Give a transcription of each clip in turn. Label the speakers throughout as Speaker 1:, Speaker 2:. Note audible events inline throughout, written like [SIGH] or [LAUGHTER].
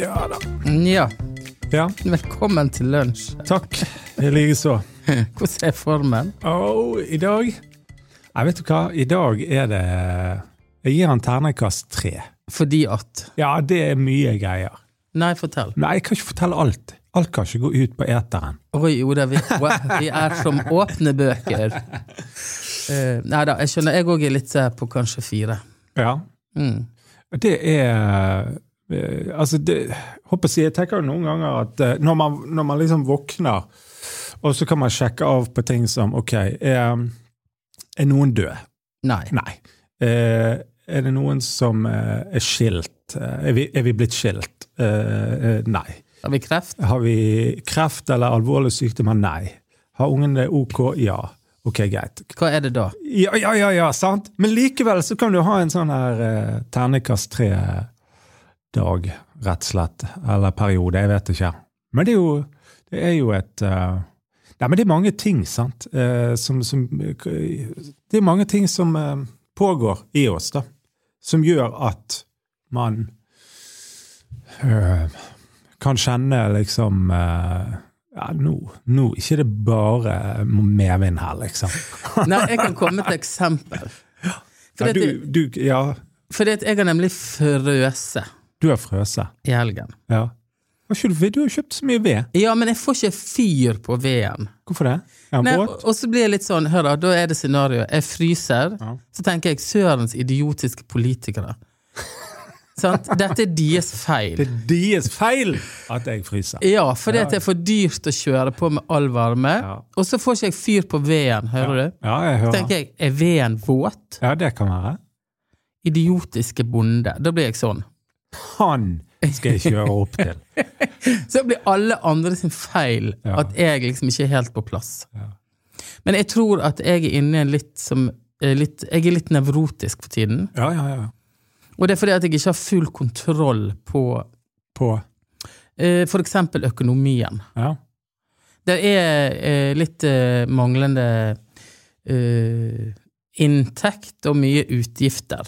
Speaker 1: Ja da.
Speaker 2: Ja,
Speaker 1: Ja,
Speaker 2: velkommen til
Speaker 1: [LAUGHS]
Speaker 2: lunsj.
Speaker 1: takk. I like så.
Speaker 2: Hvordan er formen?
Speaker 1: Au, i dag Nei, vet du hva? I dag er det Jeg gir han ternekast tre.
Speaker 2: Fordi at
Speaker 1: Ja, det er mye greier.
Speaker 2: Nei, fortell.
Speaker 1: Nei, jeg kan ikke fortelle alt. Alt kan ikke gå ut på eteren.
Speaker 2: Oi, Oda, vi, wow, vi er som åpne bøker. Uh, nei da, jeg skjønner. Jeg òg er litt eh, på kanskje fire.
Speaker 1: Ja.
Speaker 2: Mm.
Speaker 1: Det er eh, Altså, det håper jeg, sier, jeg tenker jo noen ganger at eh, når man, når man liksom våkner, og så kan man sjekke av på ting som OK, er, er noen død?
Speaker 2: Nei.
Speaker 1: Nei. Eh, er det noen som eh, er skilt? Eh, er, vi, er vi blitt skilt? Eh, eh, nei.
Speaker 2: Har vi kreft?
Speaker 1: Har vi kreft eller alvorlig sykdom? Nei. Har ungen det ok? Ja. Ok, greit.
Speaker 2: Hva er det da?
Speaker 1: Ja, ja, ja, ja, sant? Men likevel så kan du ha en sånn her eh, ternekast tre-dag, rett og slett. Eller periode, jeg vet ikke. Men det er jo, det er jo et eh, Nei, men det er mange ting, sant? Eh, som, som Det er mange ting som eh, pågår i oss, da. Som gjør at man eh, kan kjenne liksom eh, ja, nå, nå ikke det bare medvind her, liksom.
Speaker 2: Nei, jeg kan komme med et eksempel.
Speaker 1: Ja,
Speaker 2: Fordi at,
Speaker 1: du, du, ja,
Speaker 2: fordi at jeg har nemlig frøse
Speaker 1: du har frøset.
Speaker 2: i helgen.
Speaker 1: Ja. Har ikke du, ved- du har jo kjøpt så mye ved.
Speaker 2: Ja, men jeg får ikke fyr på veden.
Speaker 1: Hvorfor det? Er den
Speaker 2: Nei,
Speaker 1: våt?
Speaker 2: og og så blir jeg litt sånn, hør da, da er det scenarioet. Jeg fryser,
Speaker 1: Ja.
Speaker 2: så tenker jeg sørens idiotiske politikere. [LAUGHS] Sant? Dette er deres feil.
Speaker 1: Det er deres feil at jeg fryser.
Speaker 2: Ja, fordi at det er for dyrt å kjøre på med all varme.
Speaker 1: Ja.
Speaker 2: Og så får ikke jeg fyr på veden, hører du?
Speaker 1: Ja, jeg
Speaker 2: Så
Speaker 1: hører.
Speaker 2: tenker jeg, er veden våt?
Speaker 1: Ja, det kan være.
Speaker 2: Idiotiske bonde. Da blir jeg sånn.
Speaker 1: Han skal jeg kjøre opp til.
Speaker 2: Så blir alle andre sin feil
Speaker 1: Ja.
Speaker 2: at jeg liksom ikke er helt på plass. Men jeg tror at jeg er inne i en litt som eh, litt, Jeg er litt nevrotisk for tiden.
Speaker 1: Ja, ja, ja.
Speaker 2: Og det er fordi at jeg ikke har full kontroll på
Speaker 1: På.
Speaker 2: eh, f.eks. økonomien.
Speaker 1: Ja.
Speaker 2: Det er eh, litt eh, manglende eh, inntekt og mye utgifter.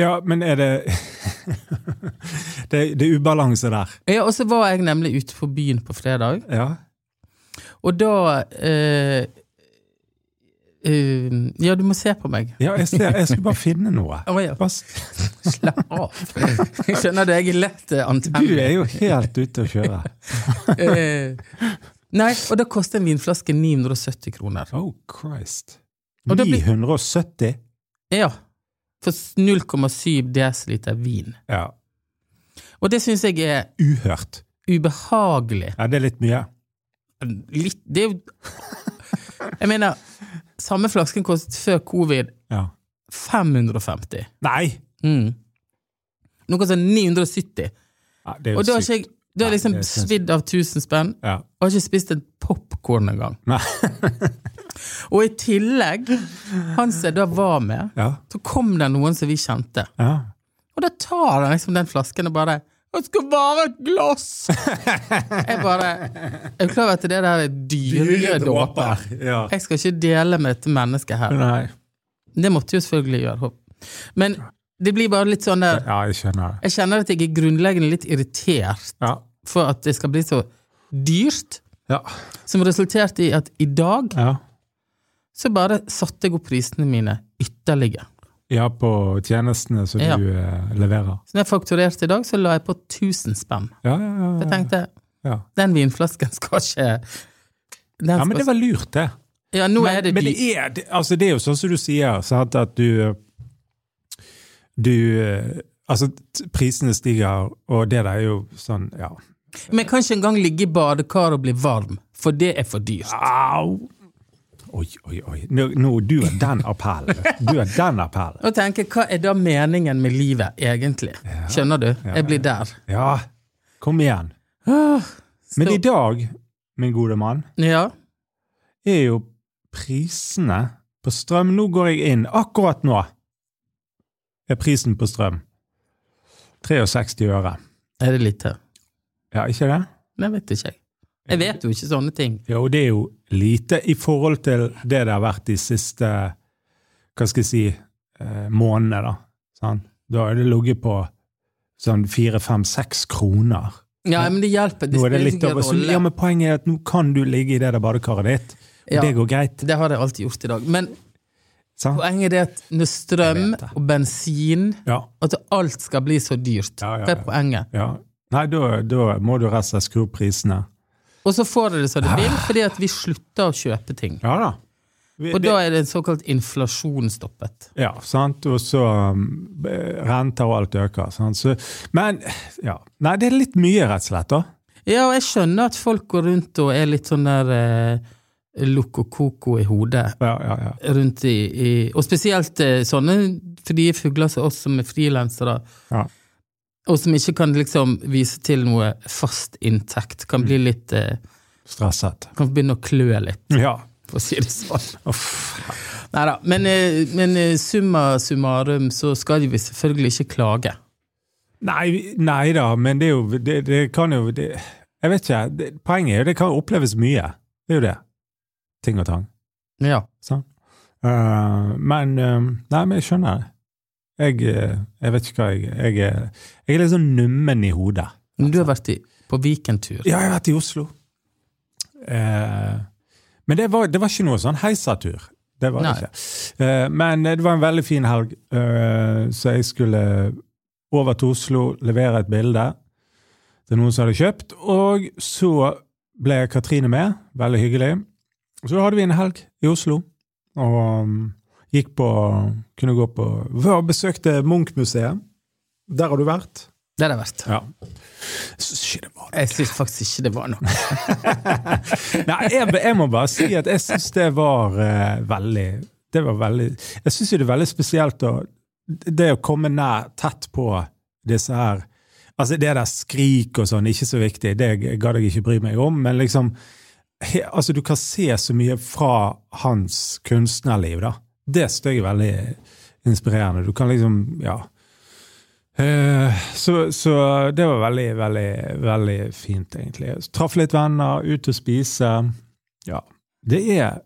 Speaker 1: ja, men er det [LAUGHS] det, det er ubalanse der.
Speaker 2: Ja, og så var jeg nemlig ute på byen på fredag,
Speaker 1: Ja.
Speaker 2: og da eh, eh, Ja, du må se på meg.
Speaker 1: ja jeg, ser, jeg skulle bare finne noe.
Speaker 2: Å ja,
Speaker 1: Bare s-
Speaker 2: slapp av. Jeg skjønner det, jeg er lett eh,
Speaker 1: Du
Speaker 2: antenne.
Speaker 1: er jo helt ute å kjøre.
Speaker 2: Eh, nei, og da koster en vinflaske 970 kroner.
Speaker 1: Oh Christ.
Speaker 2: Og da blir-
Speaker 1: 970?
Speaker 2: Ja. For 0,7 desiliter vin.
Speaker 1: Ja.
Speaker 2: Og det syns jeg er
Speaker 1: Uhørt.
Speaker 2: ubehagelig.
Speaker 1: Ja, det er litt mye.
Speaker 2: Litt Det er jo [LAUGHS] Jeg mener, samme flasken kostet før covid
Speaker 1: Ja.
Speaker 2: 550.
Speaker 1: Nei!
Speaker 2: Mm. Nå koster den 970.
Speaker 1: Ja, det er jo
Speaker 2: Og da har
Speaker 1: sykt.
Speaker 2: ikke jeg da har jeg liksom
Speaker 1: Nei, det er sinnssykt.
Speaker 2: svidd av 1000 spenn,
Speaker 1: Ja.
Speaker 2: og har ikke spist en popkorn engang.
Speaker 1: Nei.
Speaker 2: [LAUGHS] Og i tillegg, han som jeg da var med,
Speaker 1: Ja.
Speaker 2: så kom det noen som vi kjente.
Speaker 1: ja.
Speaker 2: Og da tar han liksom den flasken og bare Det skal være et glass! [LAUGHS] Jeg bare Jeg er klar over at det der er dyre dråper.
Speaker 1: Ja.
Speaker 2: Jeg skal ikke dele med et menneske her.
Speaker 1: Nei.
Speaker 2: Det måtte jeg jo selvfølgelig gjøre. håp. Men det blir bare litt sånn der
Speaker 1: Ja, jeg skjønner det.
Speaker 2: Jeg kjenner at jeg er grunnleggende litt irritert
Speaker 1: Ja.
Speaker 2: for at det skal bli så dyrt,
Speaker 1: Ja.
Speaker 2: som resulterte i at i dag
Speaker 1: ja.
Speaker 2: så bare satte jeg opp prisene mine ytterligere.
Speaker 1: ja på tjenestene som
Speaker 2: Ja.
Speaker 1: du eh, leverer.
Speaker 2: Så når jeg fakturerte i dag, så la jeg på 1000 spenn.
Speaker 1: Ja, ja, ja,
Speaker 2: Jeg
Speaker 1: ja.
Speaker 2: tenkte
Speaker 1: ja.
Speaker 2: den vinflasken skal ikke den
Speaker 1: ja,
Speaker 2: skal,
Speaker 1: men det var lurt, det.
Speaker 2: ja, nå
Speaker 1: Men,
Speaker 2: er det
Speaker 1: men
Speaker 2: dyrt.
Speaker 1: det, er, det, altså, det er jo sånn som du sier, sant, at du øh, Du eh, Altså, t- prisene stiger, og det der er jo sånn, ja
Speaker 2: Men jeg kan ikke engang ligge i badekar og bli varm, for det er for dyrt.
Speaker 1: Au! Oi, oi, oi. Nå, nå, du er den appellen. Du er den appellen.
Speaker 2: Og tenke, hva er da meningen med livet, egentlig? Skjønner du? Jeg blir der.
Speaker 1: Ja, kom igjen. Men
Speaker 2: Så-
Speaker 1: i dag, min gode mann,
Speaker 2: Ja.
Speaker 1: er jo prisene på strøm Nå går jeg inn. Akkurat nå er prisen på strøm 63 øre.
Speaker 2: Er det lite?
Speaker 1: Ja, ikke det?
Speaker 2: Nei, vet ikke jeg. Jeg vet jo ikke sånne ting.
Speaker 1: Jo, det er jo lite i forhold til det det har vært de siste hva skal jeg si, eh, månedene. da. Sant? Da har det ligget på sånn fire, fem, seks kroner.
Speaker 2: Ja, men det hjelper. Det
Speaker 1: Nå er det
Speaker 2: spiller
Speaker 1: litt
Speaker 2: ikke
Speaker 1: over. Så,
Speaker 2: rolle.
Speaker 1: ja, men poenget er at nå kan du ligge i det der badekaret ditt. og
Speaker 2: Ja.
Speaker 1: Det går greit.
Speaker 2: Det har jeg alltid gjort i dag. Men
Speaker 1: Sant?
Speaker 2: poenget er det at når strøm
Speaker 1: Jeg vet det.
Speaker 2: og bensin
Speaker 1: Ja.
Speaker 2: At alt skal bli så dyrt.
Speaker 1: Ja, ja,
Speaker 2: Det
Speaker 1: ja.
Speaker 2: er poenget.
Speaker 1: ja. Nei, da, da må du rett og slett skru opp prisene.
Speaker 2: Og så får dere det
Speaker 1: Ah.
Speaker 2: som det vil, fordi at vi slutter å kjøpe ting.
Speaker 1: Ja da. Vi-
Speaker 2: Og
Speaker 1: det-
Speaker 2: da er det en såkalt inflasjonsstoppet.
Speaker 1: Ja, sant? og så um, eh, renter og alt øker. Sant? Så, men ja. Nei, det er litt mye, rett og slett. da.
Speaker 2: Ja, og jeg skjønner at folk går rundt og er litt sånn der eh, loco-coco i hodet.
Speaker 1: Ja, ja, ja.
Speaker 2: Rundt i, i Og spesielt eh, sånne frie fugler som oss som er frilansere,
Speaker 1: ja.
Speaker 2: og som ikke kan liksom vise til noe fast inntekt, kan bli litt eh,
Speaker 1: Stresset.
Speaker 2: Kan begynne å klø litt,
Speaker 1: Ja.
Speaker 2: for å si det sånn.
Speaker 1: Uff.
Speaker 2: Nei da. Men, eh, men eh, summa summarum så skal vi selvfølgelig ikke klage.
Speaker 1: Nei, vi- nei da, men det er jo Det, det kan jo det, Jeg vet ikke. Det, poenget er jo det kan oppleves mye. Det er jo det. Ting og tang.
Speaker 2: Ja.
Speaker 1: Sant? Eh, men eh, Nei, men jeg skjønner det. Jeg, eh, jeg vet ikke hva jeg Jeg, er- jeg er litt sånn nummen i hodet.
Speaker 2: Men du har vært i, på Viken-tur.
Speaker 1: Ja, jeg har vært i Oslo. Eh, men det var, det var ikke noe sånn heisatur. Det var det
Speaker 2: Nei.
Speaker 1: ikke. Eh, men det var en veldig fin helg, eh, så jeg skulle over til Oslo, levere et bilde til noen som hadde kjøpt, og så ble Katrine med. Veldig hyggelig. Så hadde vi en helg i Oslo, og um, gikk på Kunne gå på var- Besøkte Munch-museet. Der har du vært?
Speaker 2: Det har jeg vært.
Speaker 1: Ja. Jeg syns ikke det var
Speaker 2: Jeg syns faktisk ikke det var noe.
Speaker 1: Nei, jeg, jeg må bare si at jeg syns det var eh, veldig Det var veldig Jeg syns jo det er veldig spesielt å Det å komme nær, tett på disse her Altså, det der skrik og sånn, ikke så viktig, det gadd jeg ikke bry meg om, men liksom he, Altså, du kan se så mye fra hans kunstnerliv, da. Det syns jeg er veldig inspirerende. Du kan liksom Ja. Eh, Så, så det var veldig, veldig, veldig fint, egentlig. Så Traff litt venner, ut og spise. Ja. Det er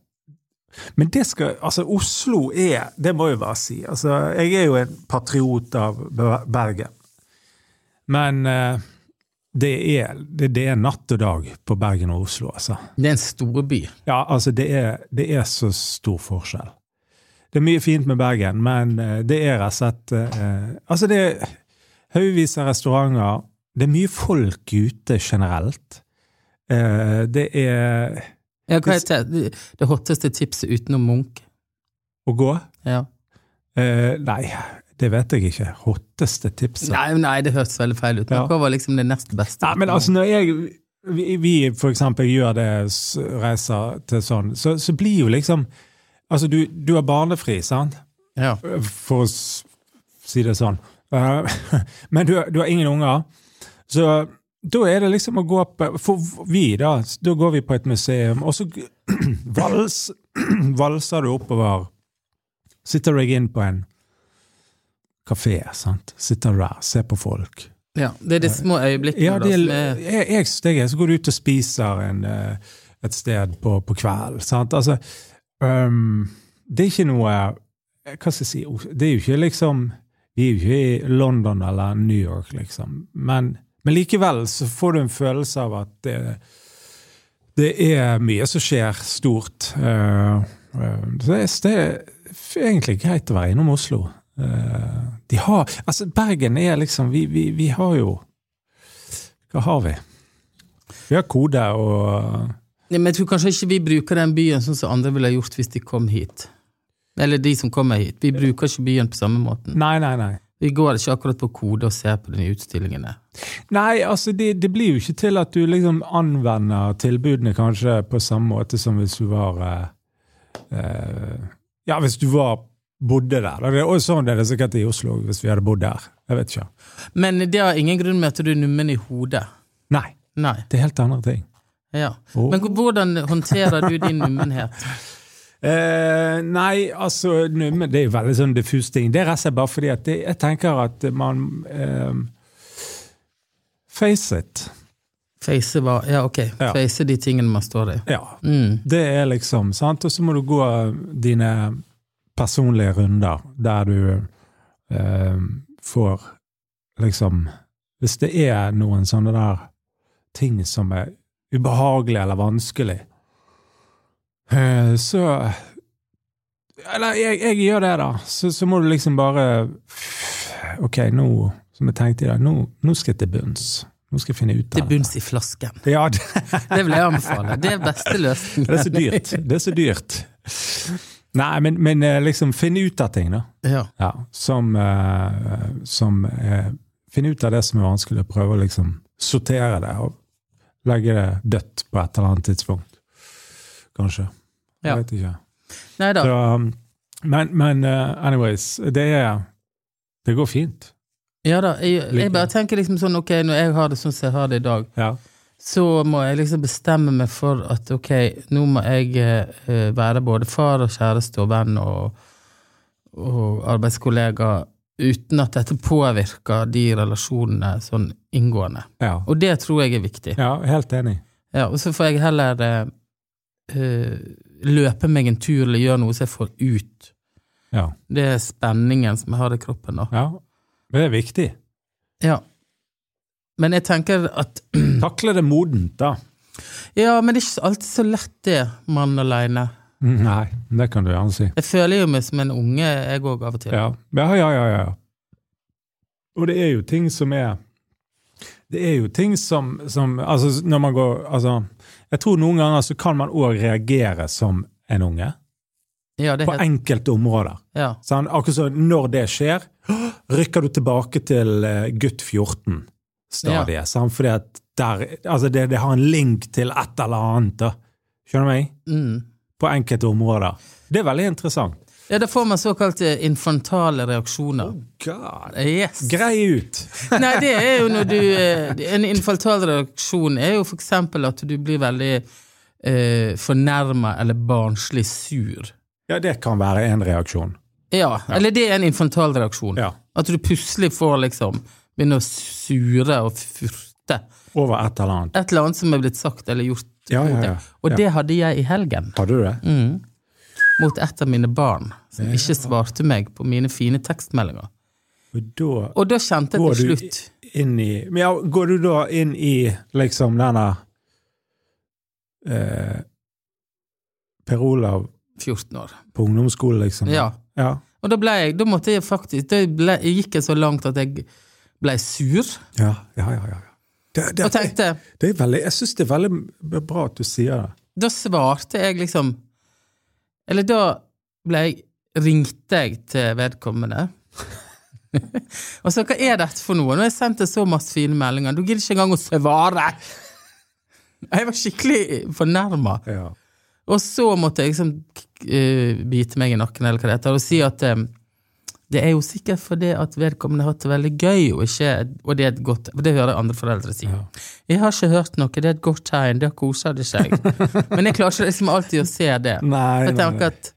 Speaker 1: Men det skal Altså, Oslo er Det må jeg bare si. Altså, jeg er jo en patriot av Be- Bergen. Men eh, det er, det, det er natt og dag på Bergen og Oslo, altså.
Speaker 2: Det er en storby.
Speaker 1: Ja, altså, det er, det er så stor forskjell. Det er mye fint med Bergen, men eh, det er rett og slett eh, Altså, det er haugevis av restauranter. Det er mye folk ute generelt. Eh, det er
Speaker 2: Ja, hva heter det? Det hotteste tipset utenom Munch.
Speaker 1: Å gå?
Speaker 2: Ja.
Speaker 1: Eh, nei, det vet jeg ikke. Hotteste tipset.
Speaker 2: Nei, nei, det hørtes veldig feil ut.
Speaker 1: Ja.
Speaker 2: Hva var liksom det nest beste?
Speaker 1: Nei, men altså når jeg vi, vi for eksempel gjør det, s- reiser til sånn, så, så blir jo liksom Altså, du, du er barnefri, sant?
Speaker 2: Ja.
Speaker 1: for å s- si det sånn. Eh, [LAUGHS] Men du, du har ingen unger. Så da er det liksom å gå på For vi, da. Da går vi på et museum, og så [CLEARS THROAT] g- vals, [CLEARS THROAT] valser du oppover. Sitter jeg inn på en kafé, sant. Sitter der, ser på folk.
Speaker 2: ja. Det er de små øyeblikkene
Speaker 1: Ja, det,
Speaker 2: da, som
Speaker 1: er-
Speaker 2: er
Speaker 1: jeg, jeg synes det er gøy. Så går du ut og spiser en, eh, et sted på, på kvelden. Sant? Altså, ehm, det er ikke noe eh, Hva skal jeg si? Det er jo ikke liksom Vi er jo ikke i London eller New York, liksom. Men, men likevel så får du en følelse av at det, det er mye som skjer stort. Eh, eh, så jeg synes det er egentlig greit å være innom Oslo. Eh, de har, altså Bergen er liksom Vi, vi, vi har jo hva har vi? Vi har kode og
Speaker 2: Nei, Men jeg tror kanskje ikke vi bruker den byen sånn som andre ville ha gjort hvis de kom hit. Eller de som kommer hit. Vi bruker ikke byen på samme måten.
Speaker 1: Nei, nei, nei.
Speaker 2: Vi går ikke akkurat på kode og ser på de nye utstillingene.
Speaker 1: Nei, altså det, det blir jo ikke til at du liksom anvender tilbudene kanskje på samme måte som hvis du var eh, eh, Ja, hvis du var bodde der. da. Det er også sånn det er det sikkert i Oslo hvis vi hadde bodd der. Jeg vet ikke.
Speaker 2: Men det har ingen grunn med at du er nummen i hodet.
Speaker 1: Nei,
Speaker 2: Nei.
Speaker 1: det er helt andre ting.
Speaker 2: Ja.
Speaker 1: Åh.
Speaker 2: Men hvordan håndterer du din nummenhet?
Speaker 1: Eh, nei, altså nu- men Det er jo veldig sånn diffus ting. Det er rett og slett bare fordi at det, jeg tenker at man eh, Face it.
Speaker 2: Face hva? Ja, ok.
Speaker 1: Ja.
Speaker 2: Face de tingene man står i.
Speaker 1: Ja,
Speaker 2: Mm.
Speaker 1: Det er liksom, sant? Og så må du gå dine personlige runder der du eh, får liksom Hvis det er noen sånne der ting som er ubehagelig eller vanskelig, eh, så Eller jeg, jeg gjør det, da. Så, så må du liksom bare Ok, nå, som jeg tenkte i dag, nå, nå skal jeg til bunns. Nå skal jeg finne ut
Speaker 2: Til
Speaker 1: av det.
Speaker 2: bunns i flasken.
Speaker 1: Ja, det,
Speaker 2: Det vil jeg anbefale. Det er beste løsningen.
Speaker 1: det er så dyrt. Det er så dyrt. Nei, men, men eh, liksom finne ut av ting, da.
Speaker 2: Ja.
Speaker 1: Ja, som, eh, som eh, finner ut av det som er vanskelig, og prøver å liksom sortere det og legge det dødt på et eller annet tidspunkt. Kanskje. Jeg
Speaker 2: Ja.
Speaker 1: vet ikke.
Speaker 2: Nei da.
Speaker 1: Så, um, men men eh, anyways, det er Det går fint.
Speaker 2: Ja da. Jeg,
Speaker 1: Like.
Speaker 2: jeg bare tenker liksom sånn, ok, når jeg har det sånn som jeg har det i dag,
Speaker 1: Ja.
Speaker 2: så må jeg liksom bestemme meg for at ok, nå må jeg eh, være både far og kjæreste og venn og, og arbeidskollega uten at dette påvirker de relasjonene sånn inngående.
Speaker 1: Ja,
Speaker 2: Og det tror jeg er viktig.
Speaker 1: ja helt enig.
Speaker 2: Ja, og så får jeg heller eh, eh, løpe meg en tur eller gjøre noe så jeg får ut.
Speaker 1: Ja.
Speaker 2: Det er spenningen som jeg har i kroppen da.
Speaker 1: ja. Men det er viktig.
Speaker 2: Ja. Men jeg tenker at
Speaker 1: Takle det modent, da.
Speaker 2: Ja, men det er ikke alltid så lett, det, mann aleine.
Speaker 1: Mm, Nei, det kan du gjerne si.
Speaker 2: Jeg føler jo meg som en unge, jeg òg, av og til.
Speaker 1: Ja. Ja, ja, ja, ja. Og det er jo ting som er Det er jo ting som, som Altså, når man går Altså, jeg tror noen ganger så kan man òg reagere som en unge.
Speaker 2: Ja, det
Speaker 1: På
Speaker 2: er helt,
Speaker 1: enkelte områder.
Speaker 2: ja.
Speaker 1: Sant? akkurat som når det skjer, rykker du tilbake til eh, gutt 14-stadiet. Sant? Fordi at der Altså, det, det har en link til et eller annet. Da. Skjønner du meg?
Speaker 2: Mm.
Speaker 1: På enkelte områder. Det er veldig interessant.
Speaker 2: ja, da får man såkalte infantale reaksjoner.
Speaker 1: God.
Speaker 2: Yes!
Speaker 1: Grei ut!
Speaker 2: Nei, det er jo når du eh, En infantal reaksjon er jo for eksempel at du blir veldig eh, fornærma eller barnslig sur.
Speaker 1: Ja, det kan være en reaksjon.
Speaker 2: Ja, eller det er en infantal reaksjon.
Speaker 1: Ja.
Speaker 2: At du plutselig får liksom begynne å sure og furte.
Speaker 1: Over et eller annet.
Speaker 2: Et eller annet som er blitt sagt eller gjort.
Speaker 1: Ja, ja,
Speaker 2: mot deg.
Speaker 1: ja.
Speaker 2: Og det hadde jeg i helgen.
Speaker 1: Hadde du det?
Speaker 2: Mm. Mot et av mine barn, som ikke svarte meg på mine fine tekstmeldinger.
Speaker 1: Og da
Speaker 2: Og da kjente jeg
Speaker 1: går
Speaker 2: til
Speaker 1: du
Speaker 2: slutt
Speaker 1: inn i Men ja, går du da inn i liksom denne eh, Per Olav
Speaker 2: 14 år.
Speaker 1: på ungdomsskolen, liksom?
Speaker 2: Ja.
Speaker 1: ja.
Speaker 2: Og da ble jeg, da måtte jeg faktisk, da ble, jeg gikk jeg så langt at jeg ble sur,
Speaker 1: Ja, ja, ja. ja. Det, det,
Speaker 2: og tenkte,
Speaker 1: det er veldig, jeg syns det er veldig bra at du sier det.
Speaker 2: da svarte jeg liksom, eller da ble jeg, ringte jeg til vedkommende, [LAUGHS] og så, hva er dette for noe? Nå har jeg sendt deg så masse fine meldinger, du gidder ikke engang å svare! Jeg var skikkelig fornærmet.
Speaker 1: Ja.
Speaker 2: Og så måtte jeg liksom eh, bite meg i nakken eller hva det heter, og si at eh, det er jo sikkert fordi at vedkommende har hatt det veldig gøy, og, ikke, og det er et godt For det hører jeg andre foreldre si. Jeg har ikke hørt noe, det er et godt tegn, da koser de seg. Men jeg klarer ikke liksom alltid å se det.
Speaker 1: Nei,
Speaker 2: Jeg
Speaker 1: nei,
Speaker 2: tenker
Speaker 1: nei.
Speaker 2: at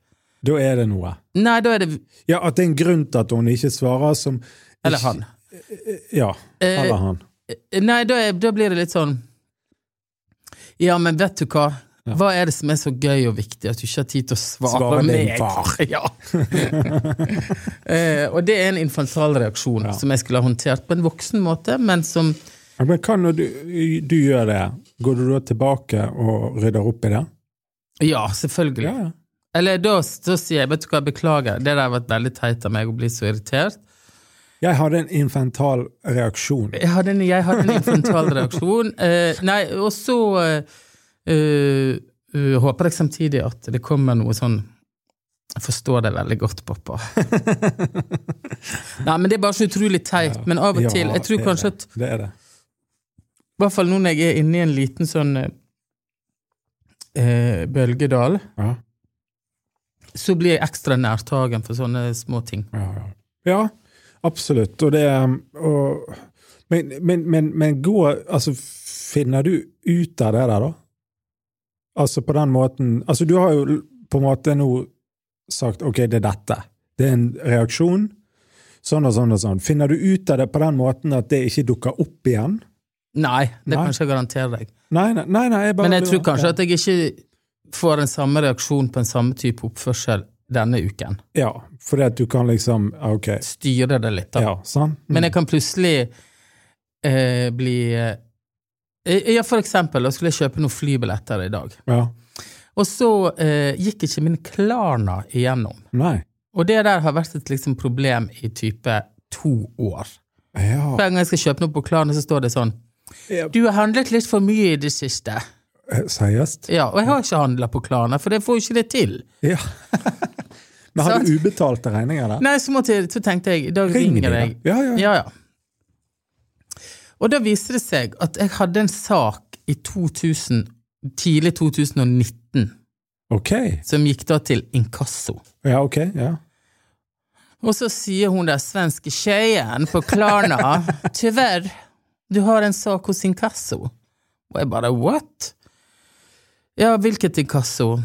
Speaker 1: Da er det noe.
Speaker 2: Nei, da er det
Speaker 1: Ja, at det er en grunn til at hun ikke svarer som
Speaker 2: Eller han.
Speaker 1: Ja.
Speaker 2: Eh,
Speaker 1: Eller han.
Speaker 2: Nei, da, er, da blir det litt sånn Ja, men vet du hva? Hva er det som er så gøy og viktig at du ikke har tid til å svare,
Speaker 1: Svare din
Speaker 2: meg?
Speaker 1: far. [LAUGHS]
Speaker 2: [LAUGHS] Ja. eh, og det er en infantil reaksjon som jeg skulle ha håndtert på en voksen måte, men som
Speaker 1: Ja, Men hva når du, du gjør det? Går du da tilbake og rydder opp i det?
Speaker 2: Ja, selvfølgelig.
Speaker 1: Ja, ja.
Speaker 2: Eller da, da sier jeg, vet du hva, beklager, det der har vært veldig teit av meg å bli så irritert.
Speaker 1: Jeg hadde en infantal reaksjon.
Speaker 2: Jeg hadde en, jeg hadde en infantil
Speaker 1: [LAUGHS]
Speaker 2: reaksjon. Eh, nei, og så eh, eh, eh, håper jeg samtidig at det kommer noe sånn Jeg forstår deg veldig godt, pappa.
Speaker 1: [LAUGHS]
Speaker 2: nei, men det er bare så utrolig teit. Men av og
Speaker 1: Ja,
Speaker 2: til Jeg
Speaker 1: det
Speaker 2: tror
Speaker 1: er
Speaker 2: kanskje at
Speaker 1: det. Det er det.
Speaker 2: I hvert fall nå når jeg er inne i en liten sånn eh, eh, bølgedal,
Speaker 1: Ja,
Speaker 2: så blir jeg ekstra nærtagen for sånne små ting.
Speaker 1: ja, ja. ja absolutt. Og det og, Men, men, men, men gå Altså, finner du ut av det der, da? Altså på den måten Altså, du har jo på en måte nå sagt OK, det er dette. Det er en reaksjon. Sånn og sånn og sånn. Finner du ut av det på den måten at det ikke dukker opp igjen?
Speaker 2: Nei, det
Speaker 1: Nei.
Speaker 2: kan ikke jeg garantere deg.
Speaker 1: Nei, nei, nei, nei jeg bare
Speaker 2: Men jeg tror kanskje at jeg ikke får den samme reaksjon på en samme type oppførsel denne uken.
Speaker 1: Ja, fordi at du kan liksom OK.
Speaker 2: Styre det litt, da.
Speaker 1: Ja, sånn.
Speaker 2: Men jeg kan plutselig eh, bli eh, Ja, for eksempel, da skulle jeg kjøpe noen flybilletter i dag.
Speaker 1: Ja.
Speaker 2: Og så eh, gikk ikke min Klarna igjennom.
Speaker 1: Nei.
Speaker 2: Og det der har vært et liksom, problem i type to år.
Speaker 1: Ja.
Speaker 2: Hver gang jeg skal kjøpe noe på Klarna, så står det sånn
Speaker 1: Ja.
Speaker 2: Du har handlet litt for mye i det siste.
Speaker 1: Eh, Seriøst?
Speaker 2: Ja, og jeg har ikke handla på Klarna, for jeg får jo ikke det til.
Speaker 1: Ja. [LAUGHS] Men har
Speaker 2: Sant.
Speaker 1: du ubetalte regninger der?
Speaker 2: Nei, så, måtte jeg, så tenkte jeg, da ringer jeg.
Speaker 1: Ja, ja. ja.
Speaker 2: Ja, ja. Og da viste det seg at jeg hadde en sak i 2000, tidlig 2019
Speaker 1: Ok.
Speaker 2: som gikk da til inkasso.
Speaker 1: Ja, ok. Ja.
Speaker 2: Og så sier hun der svenske tjejen på Klarna Tyvärr, du har en sak hos inkasso. Og jeg bare what? Ja, hvilket inkasso?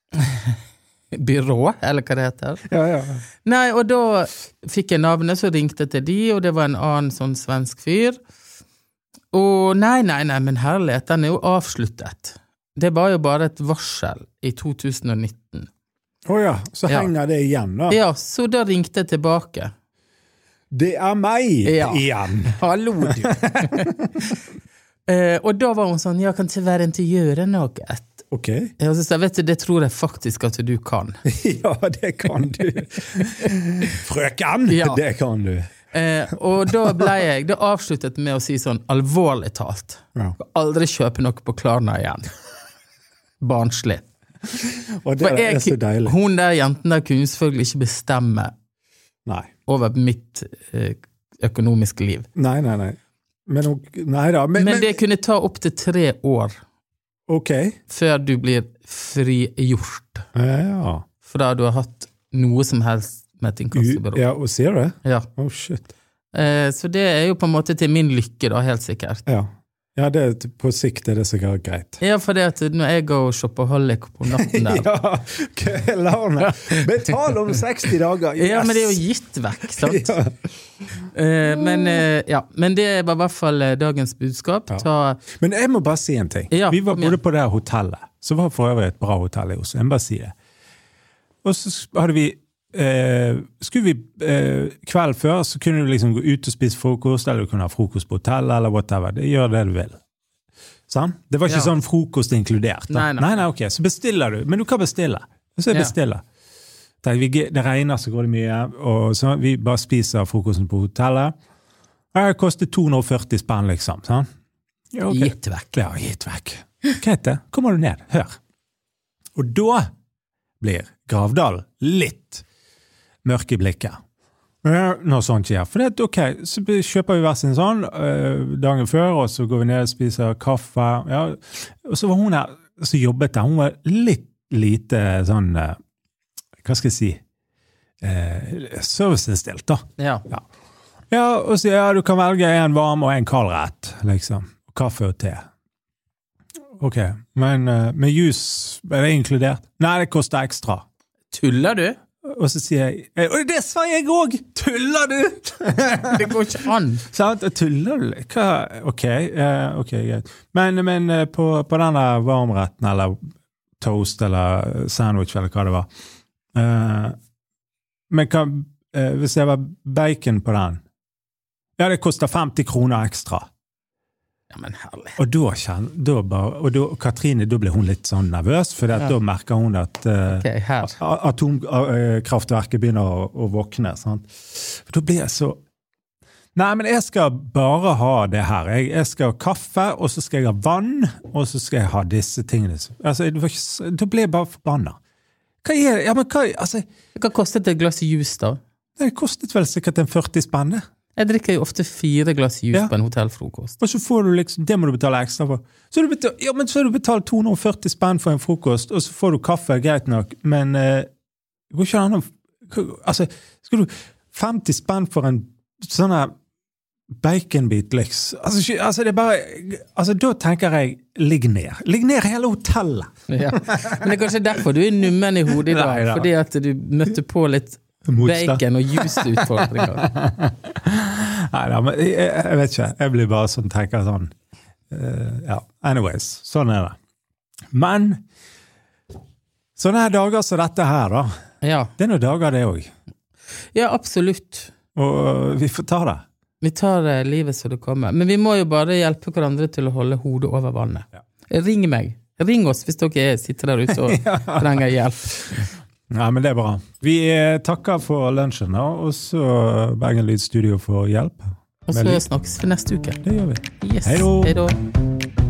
Speaker 2: [LAUGHS] Byrå, eller hva det heter.
Speaker 1: Ja, ja.
Speaker 2: Nei, og da fikk jeg navnet, så ringte jeg til de, og det var en annen sånn svensk fyr. Og nei, nei, nei, men herlighet, den er jo avsluttet. Det var jo bare et varsel i 2019.
Speaker 1: Å ja. Så
Speaker 2: Ja.
Speaker 1: henger det igjen, da.
Speaker 2: Ja, så da ringte jeg tilbake.
Speaker 1: Det er meg
Speaker 2: Ja.
Speaker 1: igjen!
Speaker 2: Hallo, du. [LAUGHS] eh, og da var hun sånn, jeg kan tyvärr ikke gjøre noe.
Speaker 1: Ok. [LAUGHS]
Speaker 2: Og så sa jeg, vet du, det tror jeg faktisk at du kan.
Speaker 1: Ja, det kan du. Frøken!
Speaker 2: Ja.
Speaker 1: Det kan du.
Speaker 2: Eh, og da ble jeg, da avsluttet jeg med å si sånn, alvorlig talt.
Speaker 1: Ja.
Speaker 2: Skal aldri kjøpe noe på Klarna igjen. Barnslig.
Speaker 1: Og det
Speaker 2: For
Speaker 1: er så
Speaker 2: jeg,
Speaker 1: deilig.
Speaker 2: hun der jenten der kunne selvfølgelig ikke bestemme
Speaker 1: Nei.
Speaker 2: over mitt eh, økonomiske liv.
Speaker 1: Nei, nei, nei. Men hun Nei da. Men,
Speaker 2: Men
Speaker 1: men,
Speaker 2: det kunne ta opptil tre år
Speaker 1: Ok.
Speaker 2: før du blir frigjort
Speaker 1: Ja.
Speaker 2: fra du har hatt noe som helst med et
Speaker 1: U-
Speaker 2: inkassobyrå.
Speaker 1: ja. Og ser du det?
Speaker 2: Ja.
Speaker 1: Oh, shit.
Speaker 2: Eh, så det er jo på en måte til min lykke, da, helt sikkert.
Speaker 1: Ja. ja det, på sikt er det sikkert greit.
Speaker 2: Ja, for det at når jeg går shopaholic på
Speaker 1: [LAUGHS]
Speaker 2: natten der
Speaker 1: Ja, køllerne! Betal om 60 dager! Yes!
Speaker 2: Ja, men det er jo gitt vekk,
Speaker 1: [LAUGHS]
Speaker 2: sant?
Speaker 1: Ja.
Speaker 2: Eh, men, eh, ja. men det var i hvert fall eh, dagens budskap.
Speaker 1: Ja.
Speaker 2: Ta,
Speaker 1: Men jeg må bare si en ting.
Speaker 2: Ja,
Speaker 1: Vi var
Speaker 2: kom igjen.
Speaker 1: både på det her hotellet, som var for øvrig et bra hotell i Oslo. Jeg må bare si det. Og så hadde vi eh, Skulle vi eh, Kvelden før så kunne du liksom gå ut og spise frokost, eller du kunne ha frokost på hotellet, eller whatever. Det gjør det du vil. Sant? Det var ikke
Speaker 2: Ja.
Speaker 1: sånn frokost inkludert. Da.
Speaker 2: Nei, nei.
Speaker 1: ok. Så bestiller du. Men du kan bestille. Og så
Speaker 2: Ja.
Speaker 1: jeg bestiller. Tenkte vi, Det regner så går det mye, og så vi bare spiser frokosten på hotellet. Ja, Det koster 240 spenn, liksom. Sant? Ja, ok.
Speaker 2: Gitt vekk.
Speaker 1: Ja, gitt vekk. Greit det. Kommer du ned. Hør. Og da blir Gravdal litt mørk i blikket. Ja, Når sånt skjer. For det, er ok, så b- kjøper vi hver sin sånn øh, dagen før, og så går vi ned og spiser kaffe. Ja. Og så var hun her som jobbet der. Hun var litt lite sånn øh, Hva skal jeg si? Eh, Serviceinnstilt, da.
Speaker 2: Ja.
Speaker 1: Ja, og så ja, du kan velge en varm og en kald rett, liksom. Kaffe og te. Ok, men eh, med juice, er det inkludert? Nei, det koster ekstra.
Speaker 2: Tuller du?
Speaker 1: Og så sier jeg, eh, og det sa jeg òg! Tuller du?!
Speaker 2: Det går ikke an!
Speaker 1: Sant? Tuller du? Hva? Ok, eh, ok, greit. Men, men eh, på, på denne varmretten, eller toast, eller sandwich, eller hva det var eh, Men hva eh, hvis jeg var bacon på den? Ja, det koster 50 kroner ekstra.
Speaker 2: Ja, men herlig.
Speaker 1: Og da, kjen, da bare, og da, Katrine, da ble hun litt sånn nervøs, for
Speaker 2: Ja.
Speaker 1: da merker hun at eh,
Speaker 2: Ok, her.
Speaker 1: a- atomkraftverket begynner å, å våkne. Sant? For Da blir jeg så Nei, men jeg skal bare ha det her. Jeg, jeg skal ha kaffe, og så skal jeg ha vann, og så skal jeg ha disse tingene. Altså, det var ikke, s- da ble jeg bare forbanna. Hva er det? Ja, men hva, altså,
Speaker 2: Hva kostet et glass juice, da?
Speaker 1: det kostet vel sikkert en 40 spenn, det.
Speaker 2: Jeg drikker jo ofte fire glass juice
Speaker 1: Ja.
Speaker 2: på en hotellfrokost.
Speaker 1: [LAUGHS] Og så får du liksom, det må du betale ekstra for. Så har du betal, ja, men så har du betalt 240 spenn for en frokost, og så får du kaffe, greit nok, men eh, det går ikke an å Altså, skal du 50 spenn for en sånn her baconbit, liksom? Altså, ikke- altså, det er bare Altså, da tenker jeg ligg ned. Ligg ned hele hotellet!
Speaker 2: Ja. Men det er kanskje derfor du er nummen i hodet i dag.
Speaker 1: Nei da.
Speaker 2: Fordi at du møtte på litt
Speaker 1: Motstand.
Speaker 2: bacon- og
Speaker 1: [LAUGHS]
Speaker 2: juiceutfordringer.
Speaker 1: Nei da, men jeg, jeg vet ikke. Jeg blir bare sånn tenker sånn eh, Ja, anyways. Sånn er det. Men sånne her dager som dette her, da.
Speaker 2: Ja.
Speaker 1: Det er noen dager, det òg.
Speaker 2: ja, absolutt.
Speaker 1: Og eh, vi får ta det.
Speaker 2: Vi tar eh, livet som det kommer. Men vi må jo bare hjelpe hverandre til å holde hodet over vannet. Ring meg. Ring oss hvis dere er- sitter der ute
Speaker 1: [LAUGHS]
Speaker 2: og trenger hjelp.
Speaker 1: Nei, men det er bra. Vi eh, takker for lunsjen, da, og så Bergen Lyd Studio for hjelp.
Speaker 2: Og
Speaker 1: Veldig.
Speaker 2: så snakkes vi neste uke.
Speaker 1: Det gjør vi.
Speaker 2: Yes.
Speaker 1: Hei då.
Speaker 2: Hei da.